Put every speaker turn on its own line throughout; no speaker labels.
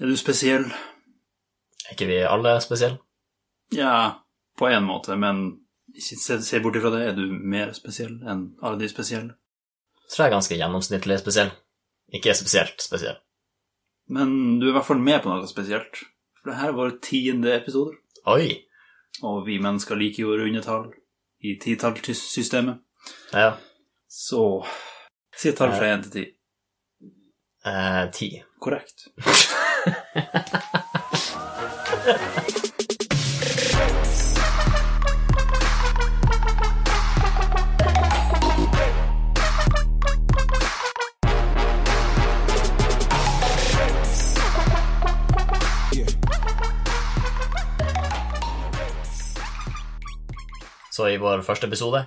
Er du spesiell?
Er ikke vi alle spesielle?
Ja, på en måte, men ikke se, se bort ifra det, er du mer spesiell enn alle de spesielle?
Jeg tror jeg er ganske gjennomsnittlig spesiell. Ikke spesielt spesiell.
Men du er i hvert fall med på noe spesielt. For det her er vår tiende episode,
Oi!
og vi mennesker liker jo å runde tall i titallsystemet.
Ja,
Så si et tall fra én til ti.
eh, ti.
Korrekt.
Så i vår første episode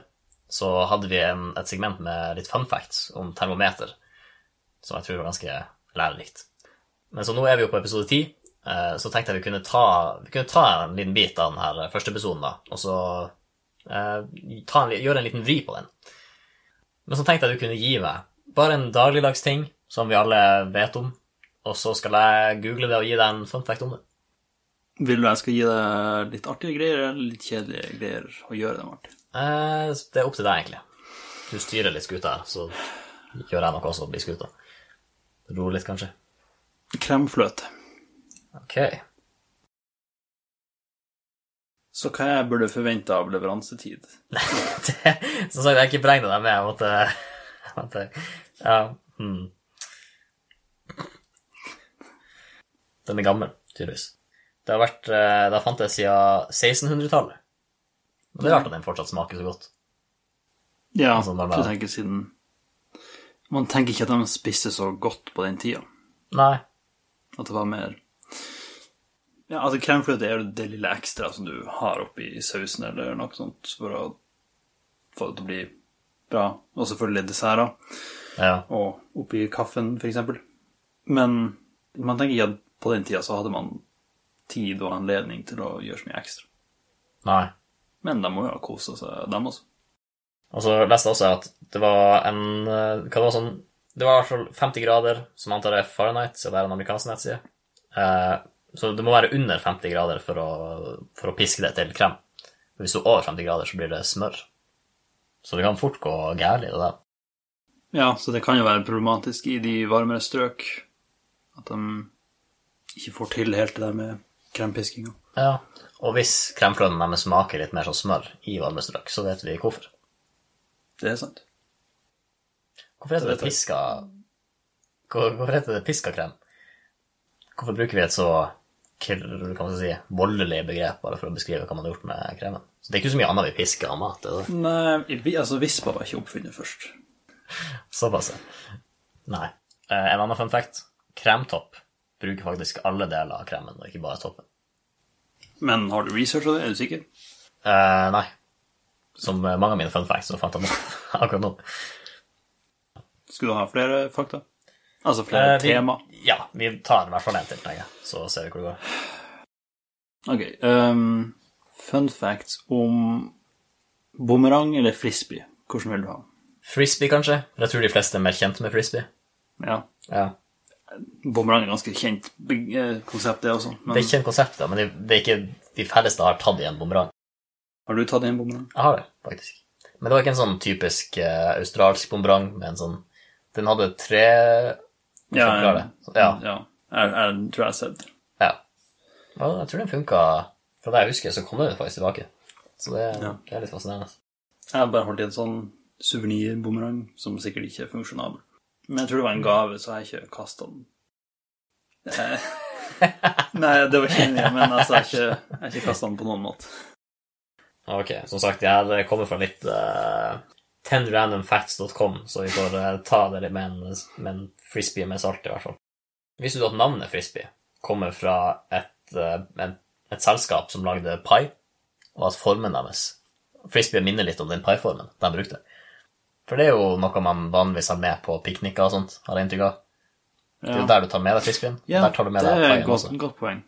så hadde vi en, et segment med litt fun facts om termometer, som jeg tror var ganske lærerikt. Men så nå er vi jo på episode ti, eh, så tenkte jeg vi kunne ta, vi kunne ta en liten bit av den her eh, første episoden, da, og så eh, ta en, li- gjøre en liten vri på den. Men så tenkte jeg du kunne gi meg bare en dagligdags ting som vi alle vet om, og så skal jeg google det og gi deg en fun fact om det.
Vil du jeg skal gi deg litt artige greier, eller litt kjedelige greier å gjøre dem artig?
Eh, Det er opp til deg, egentlig. Du styrer litt skuta her, så gjør jeg noe også og blir skuta. Roer litt, kanskje.
Kremfløte.
Ok.
Så hva jeg burde forvente av leveransetid?
Det, som sagt, jeg har ikke beregna deg med. Jeg måtte, jeg måtte Ja. Hmm. Den er gammel, tydeligvis. Det har vært eh, Det har fantes siden 1600-tallet. Men det er rart at den fortsatt smaker så godt.
Ja,
Altså, når
du
det-
tenker siden Man tenker ikke at de spiste så godt på den tida.
Nei.
At det var mer Ja, altså kremfløte er jo det lille ekstra som du har oppi sausen eller noe sånt for å få det til å bli bra. Og selvfølgelig desserter.
Ja.
Og oppi kaffen, f.eks. Men man tenker ikke at på den tida så hadde man tid og anledning til å gjøre så mye ekstra.
Nei.
Men de må jo ha kosa seg, dem også.
Og så leste jeg også at det var en eh, Hva det var sånn Det var i hvert fall 50 grader, som jeg antar er Fahrenheit, så det er en amerikansk nettside. Eh, så det må være under 50 grader for å, for å piske det til krem. For hvis du er over 50 grader, så blir det smør. Så det kan fort gå gærent i det der.
Ja, så det kan jo være problematisk i de varmere strøk at de ikke får til helt det der med krempiskinga.
Ja. Og hvis kremfløten deres smaker litt mer som smør i varme strøk, så vet vi hvorfor.
Det er sant.
Hvorfor heter det
Det vet jeg.
piska Hvor- Hvorfor heter det piskakrem? Hvorfor bruker vi et så kr- kan man si, voldelig begrep bare for å beskrive hva man har gjort med kremen? Så Det er ikke så mye annet vi pisker av mat. det er det.
Nei, i vi- altså vispa var ikke oppfunnet først.
Såpass. ja. Nei. Eh, En annen fun fact. Kremtopp bruker faktisk alle deler av kremen, og ikke bare toppen.
Men har du researcha det? Er du sikker?
Eh, nei. Som eh, mange av mine fun facts, så fant jeg på akkurat nå.
Skulle du ha flere fakta? Altså flere
Eh, vi-
tema?
Ja, vi tar i hvert fall en til, tenker jeg. Så ser vi hvor det går.
Ok. ehm, fun facts om bumerang eller frisbee. Hvordan vil du ha?
Frisbee, kanskje? Jeg tror de fleste er mer kjent med frisbee.
Ja.
Ja.
Bumerang er ganske kjent be- eh, konsept, det også. Men
Det er ikke en konsept, da, men det, det er ikke de færreste har tatt i en bumerang.
har du tatt en bumerang?
Jeg har det, faktisk. Men det var ikke en sånn typisk eh, australsk bumerang med en sånn Den hadde tre
Ja,
skal klare det. Ja.
Jeg, jeg tror jeg har sett det.
Ja. Ja, jeg tror den funka Fra det jeg husker, så kom den faktisk tilbake. Så det,
Ja.
det er litt fascinerende.
Jeg har bare holdt i en sånn suvenirbumerang som sikkert ikke er funksjonabel. Men jeg tror det var en gave, så jeg har ikke kasta den. Eh, Nei, det var ikke mye, men altså, jeg har ikke, jeg har ikke kasta den på noen måte.
Ok, som sagt, jeg det kommer fra litt uh, tenrandomfacts.com, så vi får eh, ta det litt med en, med en frisbee med salt, i hvert fall. Visste du at navnet frisbee kommer fra et, eh, en, et selskap som lagde pai, og at formen deres Frisbee minner litt om den pai-formen de brukte. For det er jo noe man vanligvis har med på pikniker og sånt, har jeg inntrykk av. Det er jo
Ja,
der du tar med deg frisbeen.
ja
der tar du med
det
deg
er
paien
et godt,
også.
godt poeng.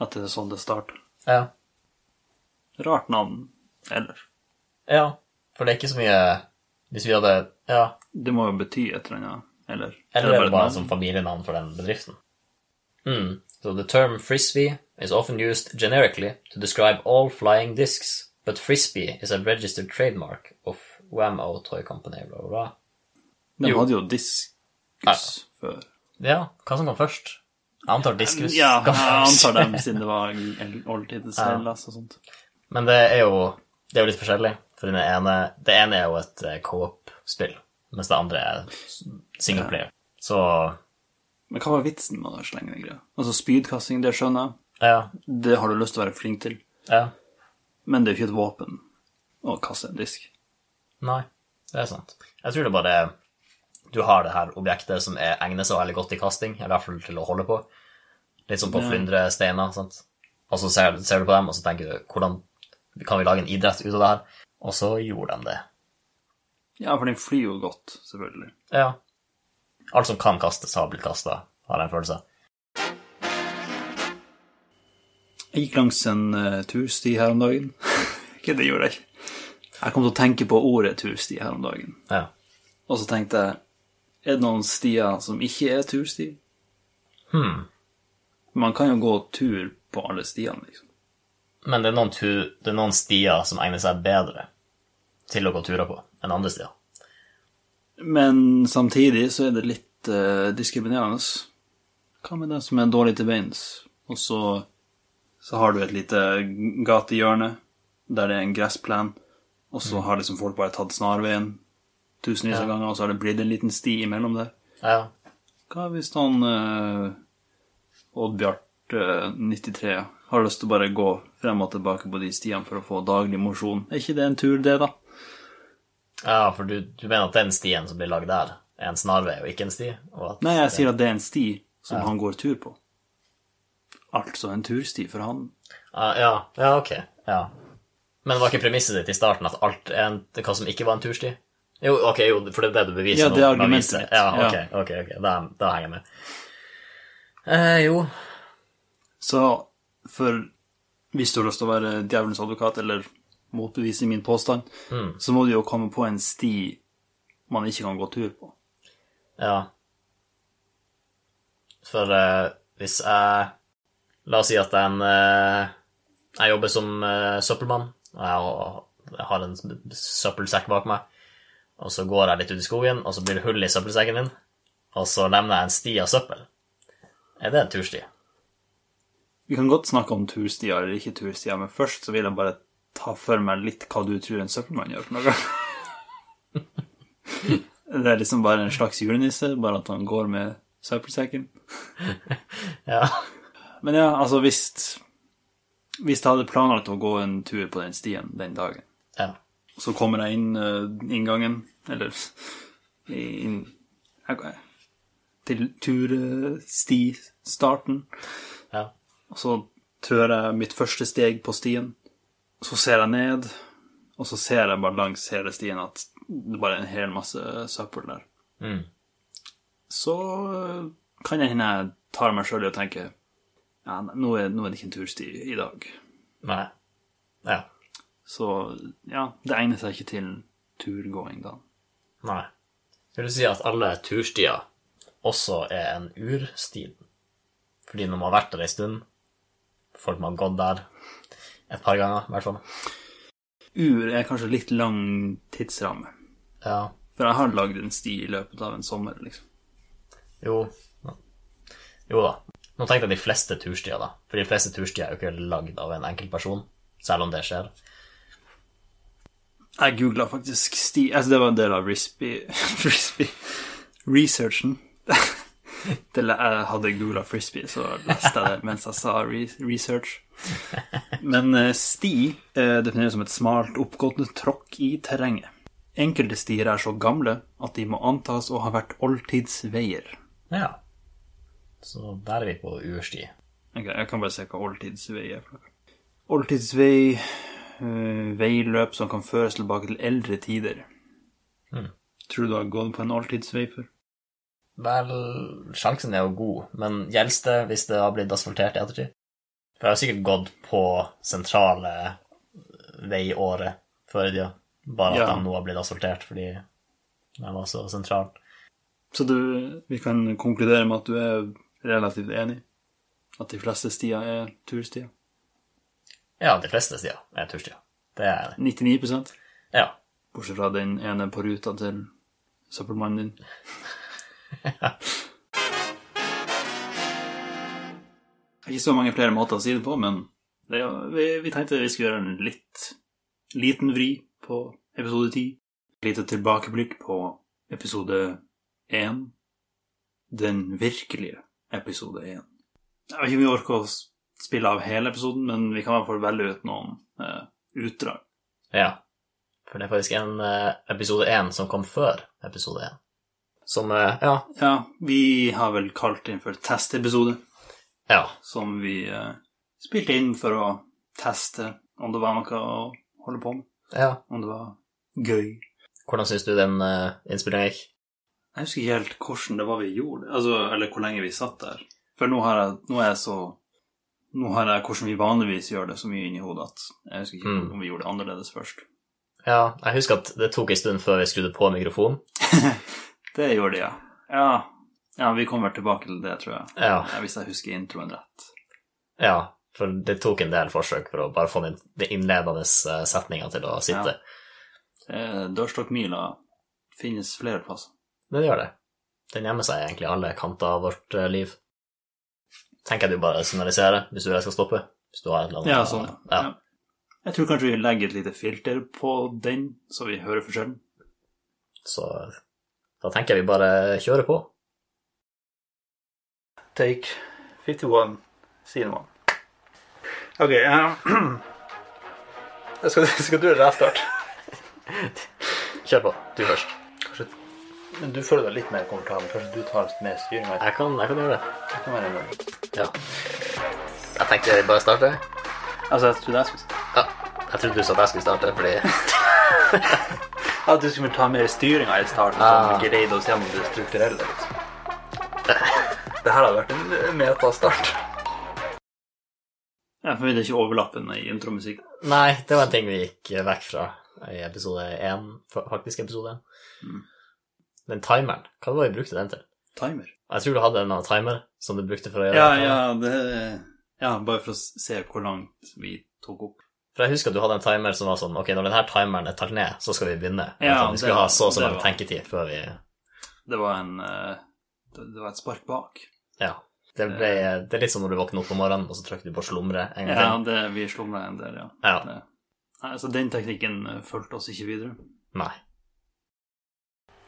At det er sånn det starter.
Ja.
Rart navn ellers.
ja, for det er ikke så mye Hvis vi hadde Ja,
Det må jo bety et eller annet. Eller,
Eller er det bare
et
som
navn.
familienavn for den bedriften? Mm. So the term frisbee is often used generically to describe all flying discs, but frisbee is a registered trademark of Wham-O Toy Company, bla, bla, bla.
De
Jo.
hadde jo diskus før.
Ja, hva som kom først? Jeg antar diskus.
Ja,
kom
jeg
først.
antar dem siden det var en oldtidens
Ja.
Hellas og sånt.
Men det er jo, det er jo litt forskjellig. For den ene, det ene er jo et eh, co-op-spill, mens det andre er s- single player. Så
Men hva var vitsen med å slenge den greia? Altså spydkasting, det skjønner jeg.
ja,
Det har du lyst til å være flink til.
ja.
Men det er jo ikke et våpen å kaste en disk.
Nei, det er sant. Jeg tror det bare er Du har det her objektet som er egner seg veldig godt i kasting, eller i hvert fall til å holde på. Litt som på
Ja.
flyndresteiner, sant. Og så ser, ser du på dem, og så tenker du hvordan kan vi lage en idrett ut av det her? Og så gjorde de det.
Ja, for den flyr jo godt, selvfølgelig.
Ja. Alt som kan kastes, har blitt kasta, har jeg en følelse av.
Jeg gikk langs en eh, tursti her om dagen. ikke det gjorde jeg. Jeg kom til å tenke på ordet tursti her om dagen.
Ja.
Og så tenkte jeg, er det noen stier som ikke er tursti?
Hmm.
Man kan jo gå tur på alle stiene, liksom.
Men det er, noen tu, det er noen stier som egner seg bedre til å gå turer på enn andre stier.
Men samtidig så er det litt eh, diskriminerende. Hva med det som er dårlig til beins? Og så, så har du et lite gatehjørne der det er en gressplen, og så har liksom folk bare tatt snarveien tusenvis av ganger, og så har det blitt en liten sti imellom der.
Ja.
Hva hvis han uh, Oddbjart eh, 93 har lyst til å bare gå frem og tilbake på de stiene for å få daglig mosjon? Er ikke det en tur, det, da?
ja, for du, du mener at den stien som blir lagd der, er en snarvei og ikke en sti? Og at,
Nei, jeg sier at det er en sti som han går tur på. Altså en tursti for han.
Ah, ja, ja, ok. Ja. Men var ikke premisset ditt i starten at alt er en, hva som ikke var en tursti? Jo, ok, jo, for det er det du beviser
Ja, det er
med å
argumentet
vise.
mitt.
Ja, ok, ok, ok, da, da henger jeg med. Eh, jo.
Så for hvis du har lyst til å være djevelens advokat, eller motbevise min påstand,
Mm.
så må du jo komme på en sti man ikke kan gå tur på.
Ja. For eh, hvis jeg La oss si at jeg, er en, eh, jeg jobber som eh, søppelmann. og Jeg har- jeg har en søppelsekk bak meg. Og så går jeg litt ut i skogen, og så blir det hull i søppelsekken min. Og så nevner jeg en sti av søppel. Er det en tursti?
Vi kan godt snakke om turstier eller ikke turstier, men først så vil jeg bare ta for meg litt hva du tror en søppelmann gjør for noe. Det er liksom bare en slags julenisse, bare at han går med søppelsekken.
Ja.
Men ja, altså hvis Hvis jeg hadde planlagt å gå en tur på den stien den dagen,
ja.
så kommer jeg inn eh, inngangen, eller inn jeg, Til turstistarten.
ja.
Og så trør jeg mitt første steg på stien. Så ser jeg ned, og så ser jeg bare langs hele stien at det bare er en hel masse søppel der.
Mm.
Så eh, kan jeg hende jeg tar meg sjøl i å tenke ja, nei, nå er, nå er det ikke en tursti i dag.
Nei. Ja.
Så ja, det egner seg ikke til turgåing da.
Nei. Vil du si at alle turstier også er en urstid? Fordi når man har vært der en stund, folk man har gått der et par ganger, i hvert fall.
Ur er kanskje litt lang tidsramme.
Ja,
For jeg har lagd en sti i løpet av en sommer, liksom.
jo. Jo da. Nå tenkte jeg de fleste turstier, da. For de fleste turstier er jo ikke lagd av en enkelt person, selv om det skjer.
Jeg googla faktisk sti Altså, det var en del av frisbee... frisbee researchen. Til jeg hadde googla frisbee, så leste jeg det mens jeg sa re research. Men eh, sti eh, defineres som et smalt, oppgående tråkk i terrenget. Enkelte stier er så gamle at de må antas å ha vært oldtidsveier.
Ja. Så der er vi på ursti.
Ok, jeg kan bare se hva oldtidsvei er. for noe. Oldtidsvei, eh, veiløp som kan føres tilbake til eldre tider.
Mhm.
Tror du du har gått på en oldtidsvei før?
Vel, sjansen er jo god, men gjelder det hvis det har blitt asfaltert i ettertid? For jeg har sikkert gått på sentrale veiåret før i tida, bare at
Ja.
de nå har blitt asfaltert fordi de var så sentrale.
Så du, vi kan konkludere med at du er relativt enig? At de fleste stier er turstier.
Ja, de fleste stier er turstier. Det er
99
Ja.
Bortsett fra den ene på ruta til søppelmannen din. Det er Ikke så mange flere måter å si det på, men det, er- vi, vi tenkte vi skulle gjøre en litt liten vri på episode 10. Et lite tilbakeblikk på episode 1. Den virkelige episode 1. Jeg vet ikke om vi orker å s- spille av hele episoden, men vi kan i hvert fall velge ut noen eh, utdrag.
ja. For det er faktisk en eh, episode én som kom før episode én. Som eh, Ja.
Ja, vi har vel kalt den for testepisode,
Ja.
som vi eh, spilte inn for å teste om det var noe å holde på med,
ja.
om det var gøy.
Hvordan syns du den uh, innspillinga gikk?
Jeg husker ikke helt hvordan det var vi gjorde, altså, eller hvor lenge vi satt der. For nå, har jeg, nå er jeg så Nå har jeg hvordan vi vanligvis gjør det, så mye inni hodet at jeg husker ikke
Mm.
om vi gjorde det annerledes først.
Ja, jeg husker at det tok en stund før vi skrudde på mikrofonen.
Det gjorde de, ja. ja. Ja, vi kommer tilbake til det, tror jeg.
Ja.
Ja, Hvis jeg husker introen rett.
Ja, for det tok en del forsøk for å bare få den, den innledende eh, setninga til å sitte.
Eh, Dørstokkmila finnes flere plasser.
Men det gjør det. Den gjemmer seg egentlig i alle kanter av vårt eh, liv. Tenker jeg du bare signaliserer hvis du vil jeg skal stoppe. Hvis du har et eller annet.
Ja, sånn,
ja.
ja. Jeg tror kanskje vi legger et lite filter på den, så vi hører forskjellen.
Så da tenker jeg vi bare kjører på.
Take 51, scene 1. Ok, skal, du gjøre restart?
Kjør på, du først.
Kanskje men du føler deg litt mer komfortabel. Kanskje du tar mer styring?
Jeg kan, jeg kan gjøre det.
Altså,
Ja. Jeg tenkte jeg bare starte.
Altså, jeg trodde jeg skulle
Ja. Jeg trodde du sa at jeg skulle starte, fordi
At du skulle ta mer styringa i starten,
Ah.
sånn greide oss gjennom det strukturelle. liksom. Det her hadde vært en metastart. Jeg forventer ikke overlappene i intromusikk.
Nei, det var en ting vi gikk vekk fra i episode én, fa- faktisk episode én.
Mm.
Den timeren, hva var det vi brukte den til?
Timer.
Jeg tror du hadde en annen timer som du brukte for å gjøre
Ja,
dette.
ja, det Ja, bare for å se hvor langt vi tok opp.
For jeg husker at du hadde en timer som var sånn Ok, når denne timeren er talt ned, så skal vi begynne.
Ja,
sånn, vi
det-
skulle ha så og så
det
lang
var-
tenketid før vi
Det var en eh, Det det var et spark bak.
Ja. Det, ble, det er litt som når du våkner opp om morgenen, og så trykker du på slumre en gang
Ja,
til.
det, vi slumra en del, ja.
Ja.
Det. Nei, så den teknikken eh, fulgte oss ikke videre.
Nei.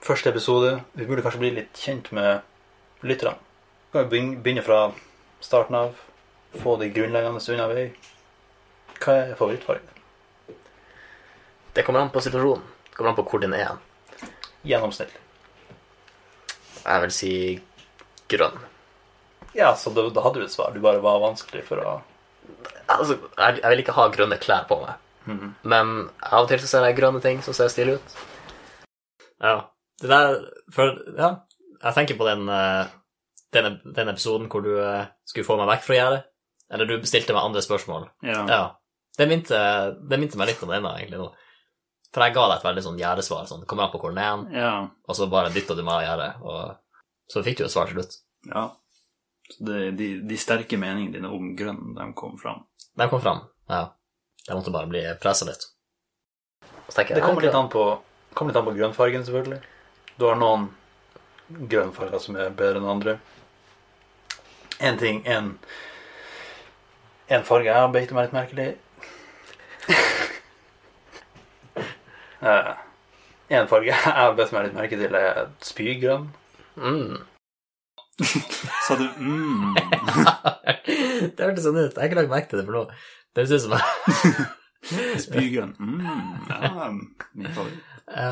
Første episode. Vi burde kanskje bli litt kjent med lytterne. Kan vi begynne fra starten av? Få de grunnleggende unna vei? Hva er favorittfargen?
Det kommer an på situasjonen. Det kommer an på hvor den er.
Gjennomsnittlig.
Jeg vil si grønn.
Ja, så da, da hadde du et svar. Du bare var vanskelig for å
Altså, jeg, jeg vil ikke ha grønne klær på meg.
Mhm.
Men av og til så ser jeg grønne ting som ser stille ut. Ja. Det der For Ja. Jeg tenker på den, eh, den, den episoden hvor du eh, skulle få meg vekk fra gjerdet. Eller du bestilte meg andre spørsmål.
Ja.
Ja. Det minte, det minte meg litt om denne, egentlig, nå. For jeg ga deg et veldig sånn gjerdesvar. Sånn, kommer an på hvor den er,
ja.
og så bare dytta du meg av gjerdet. Og så fikk du et svar til slutt.
ja. Så det, de, de sterke meningene dine om grønn, de kom fram.
De kom fram. Ja. Jeg måtte bare bli pressa litt. Og så tenker jeg,
Det kommer
jeg-
litt an på, kommer litt an på grønnfargen, selvfølgelig. Du har noen grønnfarger som er bedre enn andre. En ting, en, en farge jeg har beit meg litt merkelig i. Eh, en farge jeg har beit meg litt merke til, er spygrønn.
Mm.
Sa du mm?
det hørtes sånn ut. Jeg har ikke lagt merke til det for noe. Det høres ut som jeg
Spygrønn. Mm. Ja, min favoritt.
ja.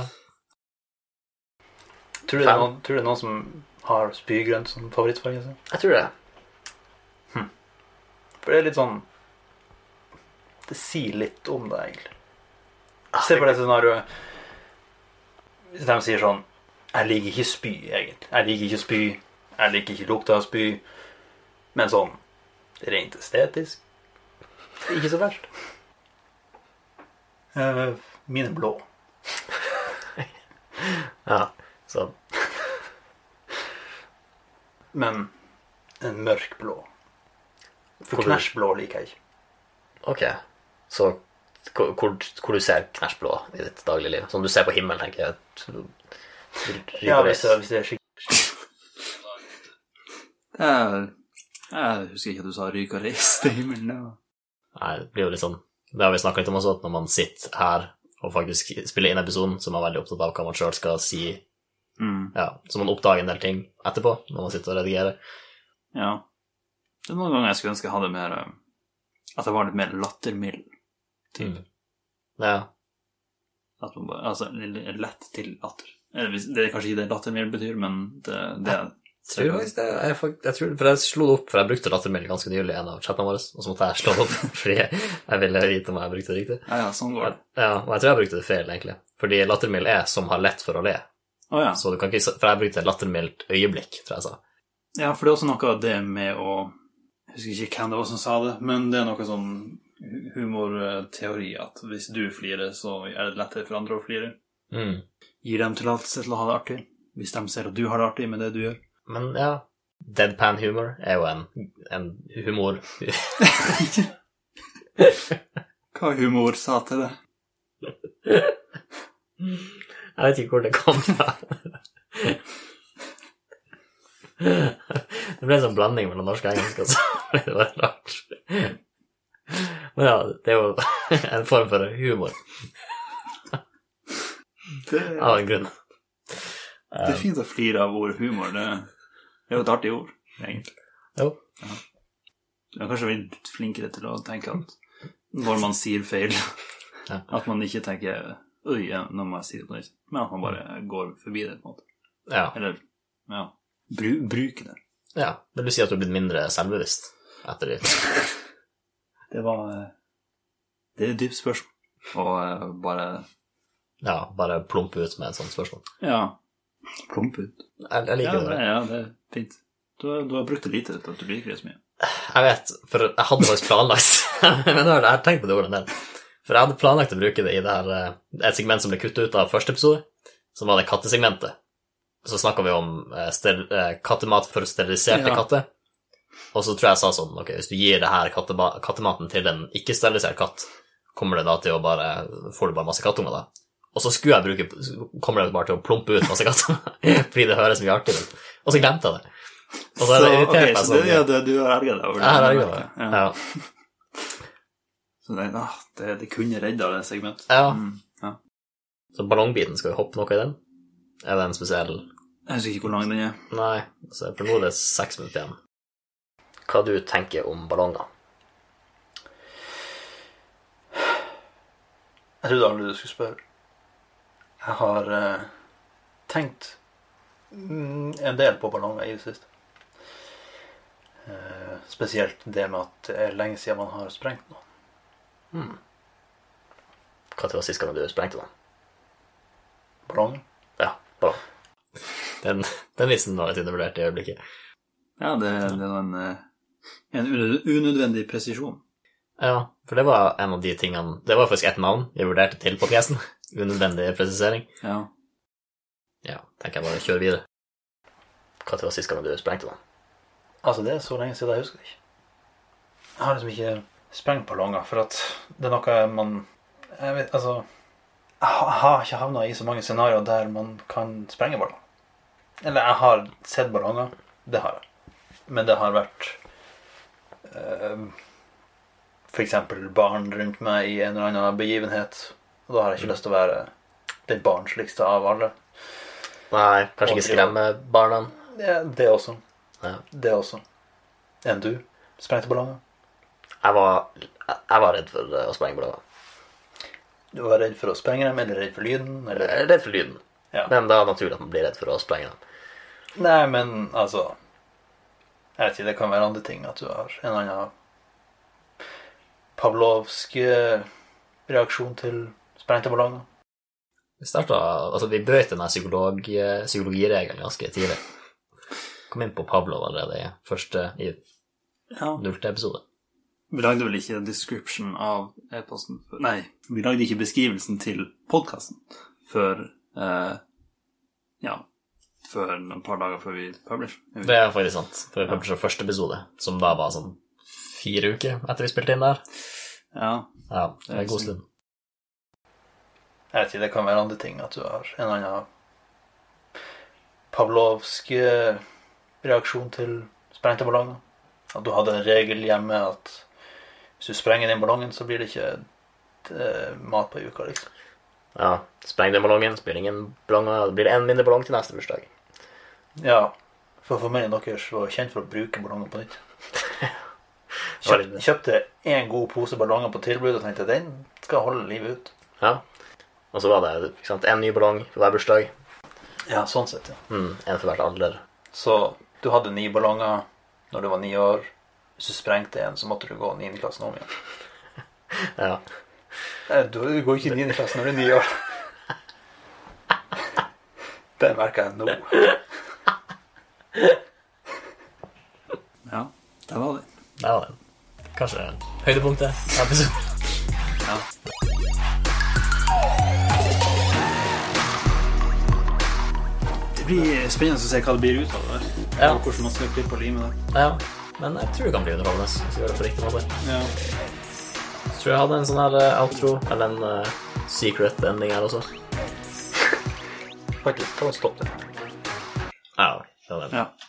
Tror du det er noen, tror du det er noen som har spygrønn som favorittfarge? sin?
Jeg tror det.
For det er litt sånn Det sier litt om deg, egentlig. Se på det scenarioet. Hvis de sier sånn Jeg liker ikke spy, egentlig. Jeg liker ikke spy. Jeg liker ikke lukta av spy. Men sånn rent estetisk det er Ikke så verst. Eh, Mine blå.
Ja. Så
Men en mørk blå. For
Hvor-
knæsjblå liker jeg ikke.
Ok, så hvor, hvor, hvor du ser knæsjblå i ditt dagligliv? Som du ser på himmelen, tenker jeg. at-
Ja, hvis det, hvis det er skikkelig
Jeg, jeg husker ikke at du sa ryk og reis til himmelen. det var-
Nei, det blir jo litt sånn Det har vi snakka litt om også, at når man sitter her og faktisk spiller inn episoden, så er man veldig opptatt av hva man sjøl skal si.
Mm,
Ja, så man oppdager en del ting etterpå, når man sitter og redigerer.
ja. Det er noen ganger jeg skulle ønske jeg hadde mer eh, At jeg var litt mer lattermild. Typ.
Mm. Ja,
At man bare, altså, l- lett til latter. Eller hvis- Det er kanskje ikke det lattermild betyr, men det, det
tror faktisk det. Jeg, fak- jeg tror, for jeg slo det opp, for jeg brukte lattermelding ganske nylig i en av chattene våre, og så måtte jeg slå det opp fordi jeg ville vite om jeg brukte det riktig.
Ja, ja, sånn går det.
Ja, og jeg tror jeg brukte det feil, egentlig. Fordi lattermild er som har lett for å le.
Å ja.
Så du kan ikke, s- for jeg brukte lattermildt øyeblikk, tror jeg jeg sa.
Ja, for det er også noe av det med å Jeg husker ikke hvem det var som sa det, men det er noe sånn hu- humorteori at hvis du flirer, så er det lettere for andre å flire.
Mm.
Gir dem tillatelse til å ha det artig, hvis de ser at du har det artig med det du gjør.
Men ja, deadpan humor er jo en, en humor
Hva humor sa til det?
Jeg vet ikke hvor det kom fra. Det ble en sånn blanding mellom norsk og engelsk, altså. Det var rart. Men ja, det er jo en form for humor
Det,
av en grunn.
det
Eh.
er fint å flire av ordet humor. Det det er jo et artig ord, egentlig.
Jo.
Du er kanskje litt flinkere til å tenke at når man sier feil,
Ja.
at man ikke tenker Oi, ja, nå må jeg si det på nytt. Men at man bare går forbi det, på en måte.
Ja.
Eller ja, bru, bruk det.
ja. Vil du si at du er blitt mindre selvbevisst etter det?
Det var eh, Det er et dypt spørsmål. Og eh, bare
Ja, bare plumpe ut med et sånt spørsmål.
ja, plump ut.
Jeg, jeg
Ja,
liker
det,
det.
ja, det er fint. Du, har- du har brukt det lite til at du liker det så mye.
Jeg vet, for jeg hadde faktisk planlagt Men nå har jeg tenkt på det ordet en del. For jeg hadde planlagt å bruke det i det her, eh, et segment som ble kuttet ut av første episode, som var det kattesegmentet. Så snakka vi om eh, steril, eh, kattemat for steriliserte
Ja.
katter. Og så tror jeg jeg sa sånn Ok, hvis du gir det her kattema kattematen til en ikke-sterilisert katt, kommer det da til å bare Får du bare masse kattunger da? Og så skulle jeg bruke så Kommer det bare til å plumpe ut masse kattunger fordi det høres mye artig ut. Og så glemte jeg det. Og så har det irritert
ok,
meg
så det,
mye.
ja, det, du har erga deg over
Jeg har erget meg.
Ja.
Ja.
Så det, ah, det, det kunne redda det segmentet.
Ja.
Mm, ja.
Så ballongbiten, skal vi hoppe noe i den? Er det en spesiell
Jeg husker ikke hvor lang den er.
Nei, så for nå er det seks minutter igjen. Hva du tenker om ballonger?
Jeg trodde aldri du skulle spørre. Jeg har eh, tenkt mm, en del på ballonger i det siste. Eh, spesielt det med at det er lenge siden man har sprengt noe.
Hva var sist gang du sprengte noen?
Ballong.
Ja, ballong. Den, den vitsen var litt undervurdert i øyeblikket.
Ja, det, det er en, eh, en unød- unødvendig presisjon.
Ja, for det var en av de tingene Det var faktisk ett navn jeg vurderte til podkasten. Unødvendig presisering.
Ja.
Ja, tenker jeg bare kjører videre. Hva var sist gang du sprengte noen?
Altså, det er så lenge siden jeg husker det ikke. Jeg har liksom ikke sprengt ballonger, for at det er noe man Jeg vet, altså Jeg ha- jeg har ikke havna i så mange scenarioer der man kan sprenge ballonger. Eller jeg har sett ballonger. Det har jeg. Men det har vært eh, For eksempel barn rundt meg i en eller annen begivenhet. Og da har jeg ikke lyst til å være den barnsligste av alle.
Nei, kanskje ikke skremme barna?
Det, det også.
Ja.
Det også. Enn du? Sprengte ballonger?
Jeg var, jeg var redd for eh, å sprenge ballonger.
Du var redd for å sprenge dem, eller redd for lyden,
Jeg
eller
er redd for lyden.
Ja.
Men det er naturlig at man blir redd for å sprenge dem.
Nei, men altså Jeg vet ikke, det kan være andre ting. At du har en eller annen pavlovsk eh, reaksjon til sprengte ballonger.
Vi starta, altså vi brøt denne psykolog, eh, psykologiregelen ganske tidlig. Kom inn på Pavlov allerede i første i
ja.
nullte episode.
Vi lagde vel ikke description av e-posten før- Nei, vi lagde ikke beskrivelsen til podkasten før eh, Ja, før noen par dager før vi publish.
Det er faktisk sant. For vi publiserte første episode, som da var sånn fire uker etter vi spilte inn der.
Ja.
Ja, det er en god stund.
Jeg vet ikke, det kan være andre ting at du har en annen pavlovsk eh, reaksjon til sprengte ballonger. At du hadde en regel hjemme at hvis du sprenger den ballongen, så blir det ikke eh, mat på ei uke, liksom.
Ja, Spreng den ballongen, spiller ingen ballonger. Blir det én mindre ballong til neste bursdag?
Ja, for familien deres var kjent for å bruke ballonger på nytt.
var
Kjøp,
litt-
kjøpte en god pose ballonger på tilbud og tenkte den skal holde livet ut.
Ja. Og så var det ikke sant, en ny ballong for hver bursdag.
Ja, sånn sett, ja.
Mm, en for hvert alder.
Så du hadde ni ballonger når du var ni år. Hvis du sprengte en, så måtte du gå niendeklassen om igjen.
Ja.
Nei, Du du går ikke i niendeklassen når du er ni år. Det merker jeg nå.
ja. Der var det.
Det var den. Kanskje høydepunktet i episoden.
Ja. Det blir spennende å se hva det blir ut av det der.
Ja.
Og hvordan man skal klippe og lime det.
Ja. Men jeg tror det kan bli underholdende hvis vi gjør det på riktig måte.
Ja.
Jeg tror jeg hadde en sånn her eh, outro, eller en eh, secret ending her også.
Faktisk, ta og stopp det.
Ja, det var det.
ja.